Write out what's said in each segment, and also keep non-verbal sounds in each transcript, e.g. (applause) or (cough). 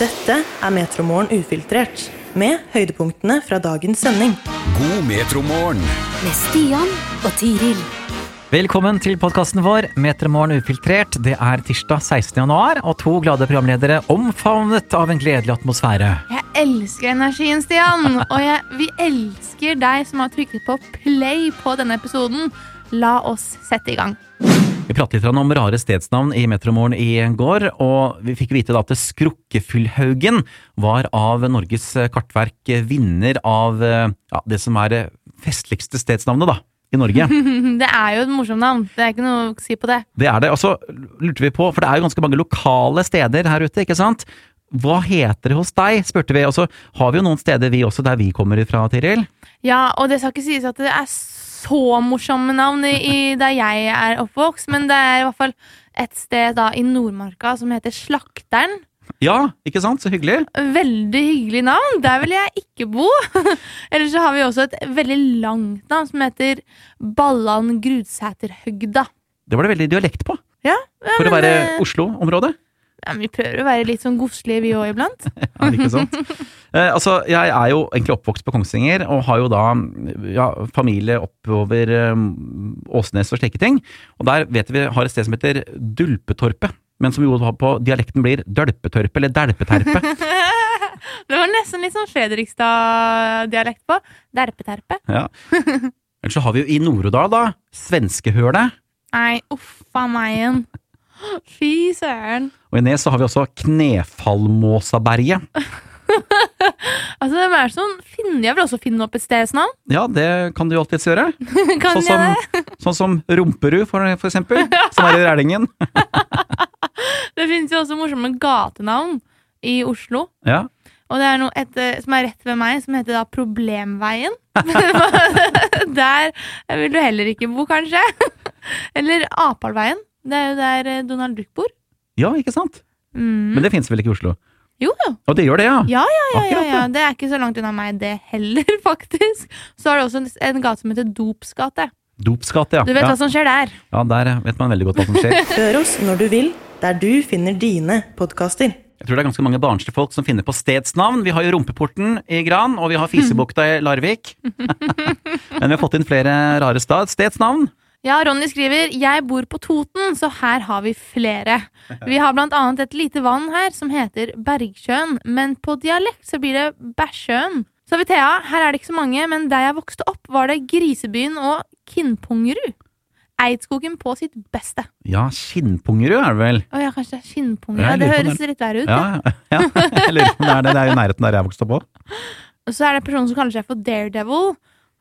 Dette er Metromorgen ufiltrert, med høydepunktene fra dagens sending. God metromorgen. med Stian og Tiril. Velkommen til podkasten vår Metermorgen ufiltrert. Det er tirsdag 16. januar, og to glade programledere omfavnet av en gledelig atmosfære. Jeg elsker energien, Stian. Og jeg, vi elsker deg som har trykket på play på denne episoden. La oss sette i gang. Vi pratet litt om rare stedsnavn i Metermorgen i går, og vi fikk vite da at Skrukkefyllhaugen var av Norges kartverk vinner av eh, ja, det som er det festligste stedsnavnet da, i Norge. Det er jo et morsomt navn. Det er ikke noe å si på det. Det er det. Og så lurte vi på, for det er jo ganske mange lokale steder her ute, ikke sant? Hva heter det hos deg, spurte vi. Og så har vi jo noen steder vi også der vi kommer ifra, Tiril. Ja, og det skal ikke sies at det er så morsomme navn i, i der jeg er oppvokst, men det er i hvert fall et sted da i Nordmarka som heter Slakteren. Ja, ikke sant? Så hyggelig. Veldig hyggelig navn. Der vil jeg ikke bo. (laughs) Eller så har vi også et veldig langt navn som heter Ballan Grudsæterhøgda. Det var det veldig dialekt på, Ja, ja, for å men, være eh, Oslo-området. Ja, men vi prøver å være litt sånn godslige vi òg iblant. Ja, ikke sant? Eh, altså, jeg er jo egentlig oppvokst på Kongsvinger, og har jo da ja, familie oppover eh, Åsnes og slike ting. Og der vet vi har et sted som heter Dulpetorpet, men som jo på dialekten blir Dølpetorpet eller Delpeterpet. (laughs) (laughs) Det var nesten litt sånn Fredrikstad-dialekt på. Derpe-terpe. Ja. Ellers så har vi jo i Nord-Odal, da, svenskehølet. Nei, uffa meg igjen. Fy søren. Og i Nes så har vi også Knefallmåsaberget. Altså, hvem er det som finner Jeg vil også finne opp et stedsnavn. Ja, det kan du jo alltids gjøre. (laughs) Kan Sånn jeg som, det? (laughs) sånn som Rumperud, for, for eksempel, som er i Rælingen. Det finnes jo også morsomme gatenavn i Oslo. Ja. Og det er noe et, eh, som er rett ved meg, som heter da Problemveien. (laughs) der vil du heller ikke bo, kanskje. (laughs) Eller Apalveien. Det er jo der eh, Donald Duck bor. ja, ikke sant? Mm. Men det fins vel ikke i Oslo? Jo, jo. Og det gjør det, ja. Ja, ja, ja, Akkurat, ja. Det er ikke så langt unna meg, det heller, (laughs) faktisk. Så har du også en, en gate som heter Dopsgate. Dopsgate, ja. Du vet altså- ja. hva som skjer der. ja. Der vet man veldig godt hva som (laughs) skjer. Hør oss når du vil, der du finner dine podkaster. Jeg tror det er ganske mange barnslige folk som finner på stedsnavn. Vi har jo Rumpeporten i Gran, og vi har Fisebukta i (laughs) Larvik. Men vi har fått inn flere rare sta- stedsnavn. Ja, Ronny skriver 'Jeg bor på Toten, så her har vi (laughs) flere'. Vi har blant annet et lite vann her som heter Bergsjøen, men på dialekt så blir det Bæsjøen. Så har vi Thea. Her er det ikke så mange, men der jeg vokste opp, var det Grisebyen og Kinnpungerud. Eidskogen på sitt beste. Ja, Skinnpungerud er det vel? Å ja, kanskje det er Ja, Kinnpungerud. Ja, jeg lurer på om det høres litt verre ut. Ja. Ja, (laughs) ja. Jeg lurer på om det er det. Det er jo i nærheten der jeg vokste (laughs) opp òg. Og så er det en person som kaller seg for Daredevil.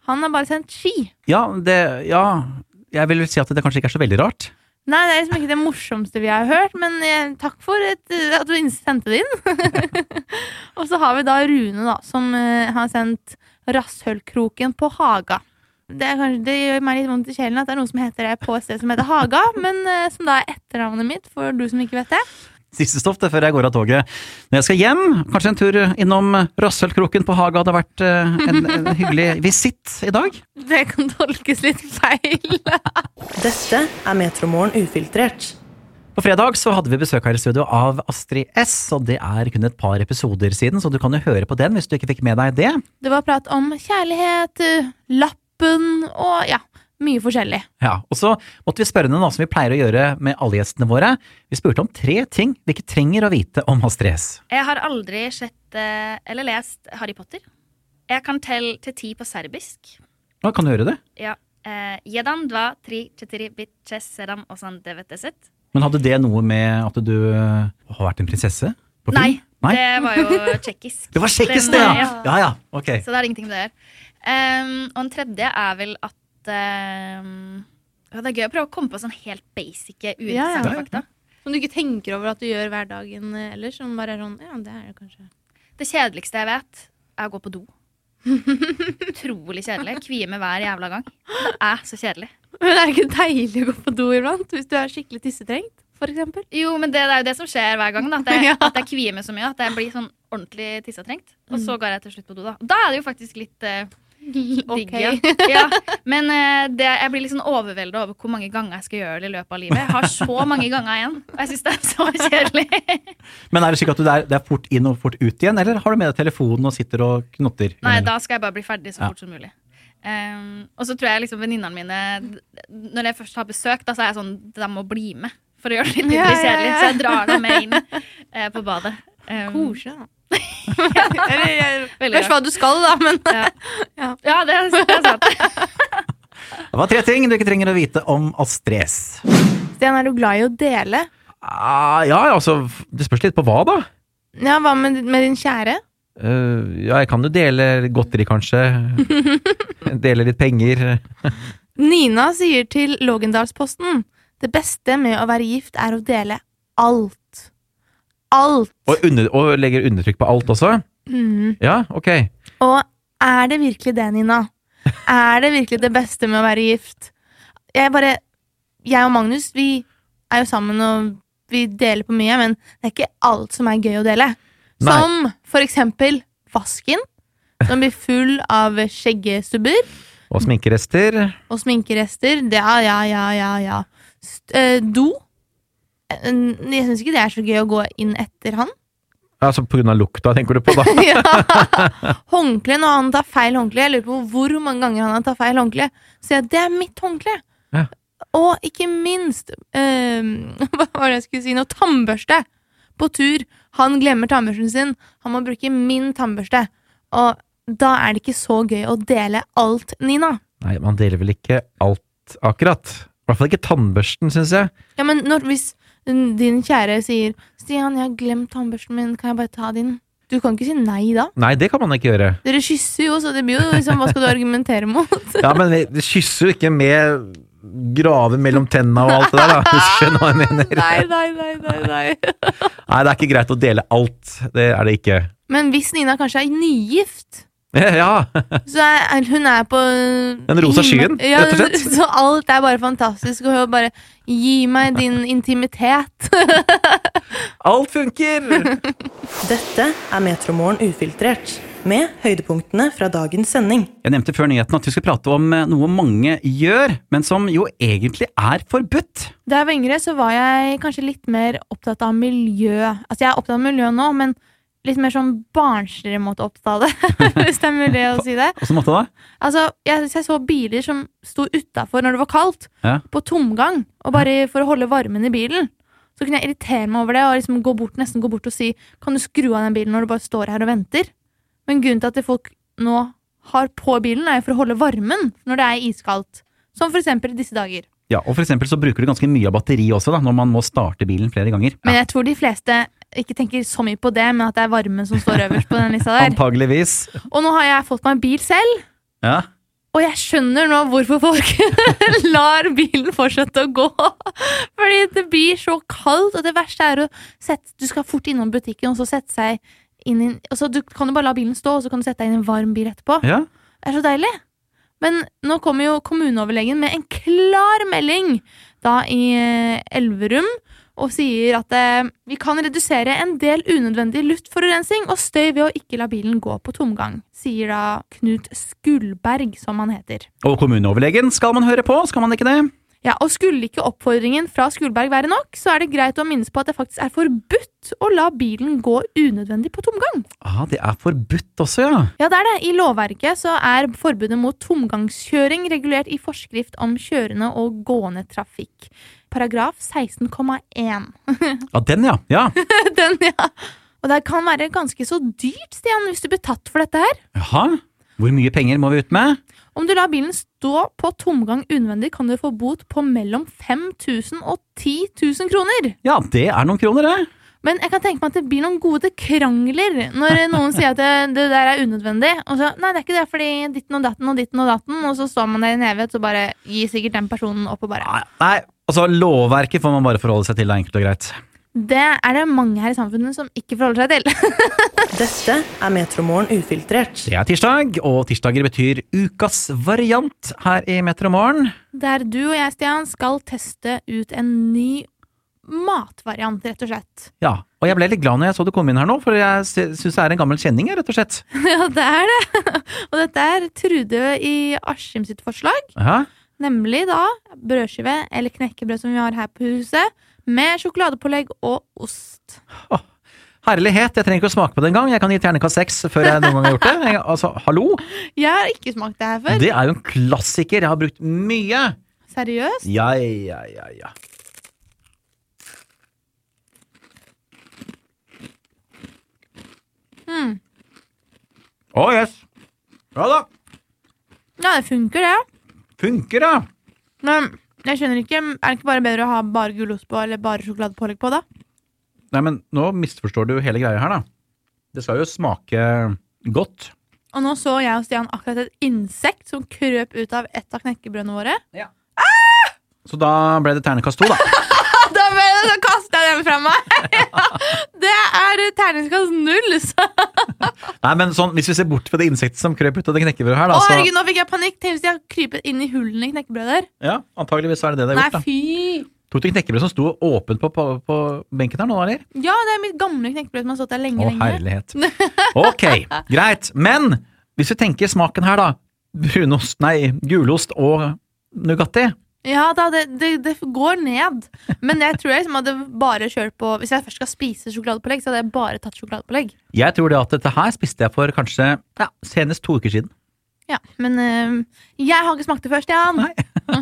Han har bare sendt ski. Ja, det Ja. Jeg vil si at det kanskje ikke er så veldig rart. Nei, det er liksom ikke det morsomste vi har hørt, men eh, takk for et, eh, at du inn- sendte det inn. (laughs) og så har vi da Rune, da, som eh, har sendt Rasshølkroken på Haga. Det, er kanskje, det gjør meg litt vondt i sjelen at det er noe som heter det på et sted som heter Haga, men eh, som da er etternavnet mitt, for du som ikke vet det. Siste stoff det før jeg går av toget. Når jeg skal hjem, kanskje en tur innom Rasshølkroken på Haga hadde vært eh, en, en hyggelig visitt i dag. Det kan tolkes litt feil. (laughs) Dette er Metromorgen ufiltrert. På fredag så hadde vi besøk her i studio av Astrid S, og det er kun et par episoder siden, så du kan jo høre på den hvis du ikke fikk med deg det. Det var prat om kjærlighet, eh, lappen og ja, mye forskjellig. Ja, og så måtte vi spørre henne, da, som vi pleier å gjøre med alle gjestene våre. Vi spurte om tre ting vi ikke trenger å vite om Astrid S. Jeg har aldri sett eh, eller lest Harry Potter. Jeg kan telle til ti på serbisk. Hva kan du høre det? Ja. eh, Jedan, dva, tri, četiri, bit, čes, sedam, osan, deveteset. Men hadde det noe med at du øh, har vært en prinsesse? På film? Nei, Nei? det var (laughs) jo tsjekkisk. Det var kjekkest, Den, det! eh, Ja. ja ja, ok. Så det har ingenting med det å gjøre. Ehm, og den tredje er vel at ehm, ja, Det er gøy å prøve å komme på sånn helt basic Ja, uinteressante ja. fakta. Som du ikke tenker over at du gjør hverdagen eh, ellers. Som bare er sånn, ja, det er det kanskje. (laughs) Det kjedeligste jeg vet, er å gå på do. Utrolig kjedelig. Kvier meg hver jævla gang. Det er så kjedelig. Men er det ikke deilig å gå på do iblant? Hvis du er skikkelig tissetrengt, for (laughs) eksempel. Jo, men det, det er jo det som skjer hver gang. Da, at, (laughs) jeg, Ja. at jeg Mm. kvier meg så mye at jeg blir sånn ordentlig tissetrengt. Og så går jeg til slutt på do, da. Og da er det jo faktisk litt eh, Ok. Digge. Ja. Men eh, det, jeg blir litt sånn overveldet over hvor mange ganger jeg skal gjøre det i løpet av livet. Jeg har (laughs) så mange ganger igjen, og jeg syns det er så kjedelig. Men er det slik at du det er, det er fort inn og fort ut igjen, eller har du med deg telefonen og sitter og knotter? Nei, da skal jeg bare bli ferdig så fort som mulig. Ehm, og så tror jeg liksom venninnene mine d- Når jeg først har besøk, da så er jeg sånn De må bli med for å gjøre det litt Ja, ja, mindre ja. kjedelig. Så jeg drar dem med inn eh, på badet. Ehm, Koselig, da. (laughs) Eller jeg- Veldig Hørs hva du skal, da, men ja. ja, det, er- det er sant. Det var tre ting du ikke trenger å vite om Astrid S. Stian, er du glad i å dele? Ah, ja, altså, det spørs litt på hva, da. Ja, hva med, med din kjære? Eh, ja, jeg kan jo dele godteri, kanskje. dele litt penger. Nina sier til Lågendalsposten Det beste med å være gift er å dele alt. Alt. Og, under, og legger undertrykk på alt også. Mhm. Ja, ok. Og er det virkelig det, Nina? Er det virkelig det beste med å være gift? Jeg bare Jeg og Magnus, vi er jo sammen og vi deler på mye, men det er ikke alt som er gøy å dele. Nei. Som for eksempel vasken, som blir full av skjeggestubber. Og sminkerester. Og sminkerester. Det, ja, ja, ja, ja, ja. St eh, do. Eh, Jeg syns ikke det er så gøy å gå inn etter han. Altså på grunn av lukta, tenker du på, da. Ja. håndkle når han tar feil håndkle. Jeg lurer på hvor mange ganger han har tatt feil håndkle. Så jeg, det er mitt håndkle. Ja. Og ikke minst eh, (laughs) Hva var det jeg skulle si nå? Tannbørste! På tur. Han glemmer tannbørsten sin. Han må bruke min tannbørste. Og da er det ikke så gøy å dele alt, Nina. Nei, man deler vel ikke alt, akkurat. I hvert fall ikke tannbørsten, syns jeg. Ja, men når, hvis din kjære sier 'Stian, jeg har glemt tannbørsten min, kan jeg bare ta din?' Du kan ikke si nei da. Nei, det kan man ikke gjøre. Dere kysser jo, så det blir jo liksom Hva skal du argumentere mot? Ja, men vi- vi kysser jo ikke med grave mellom tenna og alt det der, (laughs) da. Hvis du skjønner hva jeg mener. nei, nei, nei, nei, nei. Nei, det er ikke greit å dele alt. Det er det ikke. (laughs) Men hvis Nina kanskje er nygift, Ja, så er er- hun er på eh, Den rosa skyen, ja, rett og slett. (laughs) Så alt er bare fantastisk, og hun bare 'Gi meg din intimitet'. (laughs) alt funker! Dette er Metromorgen ufiltrert, med høydepunktene fra dagens sending. Jeg nevnte før nyheten at vi skal prate om eh, noe mange gjør, men som jo egentlig er forbudt. Da jeg var yngre, så var jeg kanskje litt mer opptatt av miljø. Altså, jeg er opptatt av miljø nå, men litt mer sånn barnsligere måte å oppta det. (laughs) Hvis det er mulig å si det. Åssen måte da? Altså, jeg, jeg så biler som sto utafor når det var kaldt, Ja. på tomgang, og bare for å holde varmen i bilen. Så kunne jeg irritere meg over det og liksom gå bort, nesten gå bort og si Kan du skru av den bilen når du bare står her og venter? Men grunnen til at det folk nå har på bilen, er jo for å holde varmen når det er iskaldt. Som for eksempel disse dager. Ja, og for eksempel så bruker du ganske mye av batteri også, da, når man må starte bilen flere ganger. Men jeg tror de fleste ikke tenker så mye på det, men at det er varmen som står øverst på den lista der. Antageligvis. Og nå har jeg fått meg bil selv, Ja. og jeg skjønner nå hvorfor folk (laughs) lar bilen fortsette å gå. Fordi det blir så kaldt, og det verste er å sette Du skal fort innom butikken, og så sette seg inn i og så Du kan jo bare la bilen stå, og så kan du sette deg inn i en varm bil etterpå. ja. Det er så deilig. Men nå kommer jo kommuneoverlegen med en klar melding da i eh, Elverum og sier at eh, vi kan redusere en del unødvendig luftforurensning og støy ved å ikke la bilen gå på tomgang, sier da Knut Skulberg, som han heter. Og kommuneoverlegen skal man høre på, skal man ikke det? Ja, og Skulle ikke oppfordringen fra Skulberg være nok, så er det greit å minnes på at det faktisk er forbudt å la bilen gå unødvendig på tomgang. Ah, det er forbudt også, ja. Ja, det er det. I lovverket så er forbudet mot tomgangskjøring regulert i forskrift om kjørende og gående trafikk. Paragraf 16,1. Ja, den ja. Ja, (laughs) Den, ja. Og det kan være ganske så dyrt, Stian, hvis du blir tatt for dette her. Jaha. Hvor mye penger må vi ut med? Om du lar bilen stå på tomgang unødvendig, kan du få bot på mellom 5000 og 10 000 kroner. Ja, det er noen kroner, det. Men jeg kan tenke meg at det blir noen gode krangler når noen sier at det, det der er unødvendig. Og så, nei, det er ikke det, fordi ditten og datten og ditten og datten, og så står man der i en evighet, så bare gir sikkert den personen opp og bare Nei, nei, altså lovverket får man bare forholde seg til, det er enkelt og greit. Det er det mange her i samfunnet som ikke forholder seg til. (laughs) Dette er Metromorgen ufiltrert. Det er tirsdag, og tirsdager betyr ukas variant her i Metromorgen. Der du og jeg, Stian, skal teste ut en ny matvariant, rett og slett. (laughs) Ja, og jeg ble litt glad når jeg så du kom inn her nå, for jeg syns det er en gammel kjenning, jeg, rett og slett. Ja, det er det! (laughs) Og dette er Trude i Askim sitt forslag. Ja, Nemlig da brødskive eller knekkebrød som vi har her på huset, med sjokoladepålegg og ost. Herlighet, jeg trenger ikke å smake på det engang. Jeg kan gi terningkast seks før jeg noen gang har gjort det. Jeg, altså, hallo! Jeg har ikke smakt det her før. Det er jo en klassiker. Jeg har brukt mye. Seriøst? Ja, ja, ja, ja. Mm. Å, yes. Ja da. Ja, det funker, det. Funker, det. Men jeg skjønner ikke, er det ikke bare bedre å ha bare gulost på eller bare sjokoladepålegg på, da? Nei, men nå misforstår du hele greia her, da. Det skal jo smake godt. Og nå så jeg og Stian akkurat et insekt som krøp ut av et av knekkebrødene våre. (laughs) Så da ble det terningkast to, da. Da ble det, så kastet jeg den fra meg! (laughs) Ja, det er terningskast null! Så. Nei, men sånn, Hvis vi ser bort fra det insektet som krøp ut av det knekkebrødet her, Å da, så herregud, nå fikk jeg panikk! Tenk hvis de har krypet inn i hullene i knekkebrøder. ja, antageligvis så er det det det Nei, har gjort. da. fy! Tok du knekkebrød som sto åpent på, på, på benken her nå, eller? Ja, det er mitt gamle knekkebrød som har stått der Å, lenge, lenge. herlighet. Ok, greit. Men hvis vi tenker smaken her, da. Brunost, nei, gulost og Nugatti. Ja, da, det, det, det går ned. Men jeg tror jeg liksom hadde bare kjørt på Hvis jeg først skal spise sjokoladepålegg, så hadde jeg bare tatt sjokoladepålegg. Jeg tror det at dette her spiste jeg for kanskje ja, senest to uker siden. Ja, Men øhm, jeg har ikke smakt det først, Jan. Nei.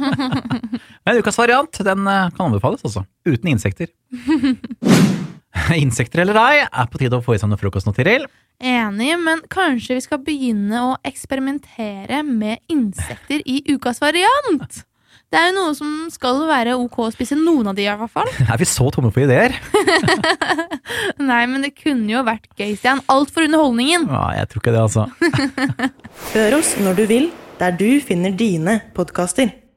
Men ukas variant den eh, kan anbefales, altså. Uten insekter. (laughs) insekter eller ei, er på tide å få i seg noe frokost nå, Tiril. Enig, men kanskje vi skal begynne å eksperimentere med insekter i ukas variant? Det er jo noe som skal være ok å spise noen av de, i hvert fall. (laughs) Er vi så tomme for ideer? Nei, men det kunne jo vært gøy, Stian. Alt for underholdningen. Nei, jeg tror ikke det, altså. Hør oss når du vil, der du finner dine podkaster.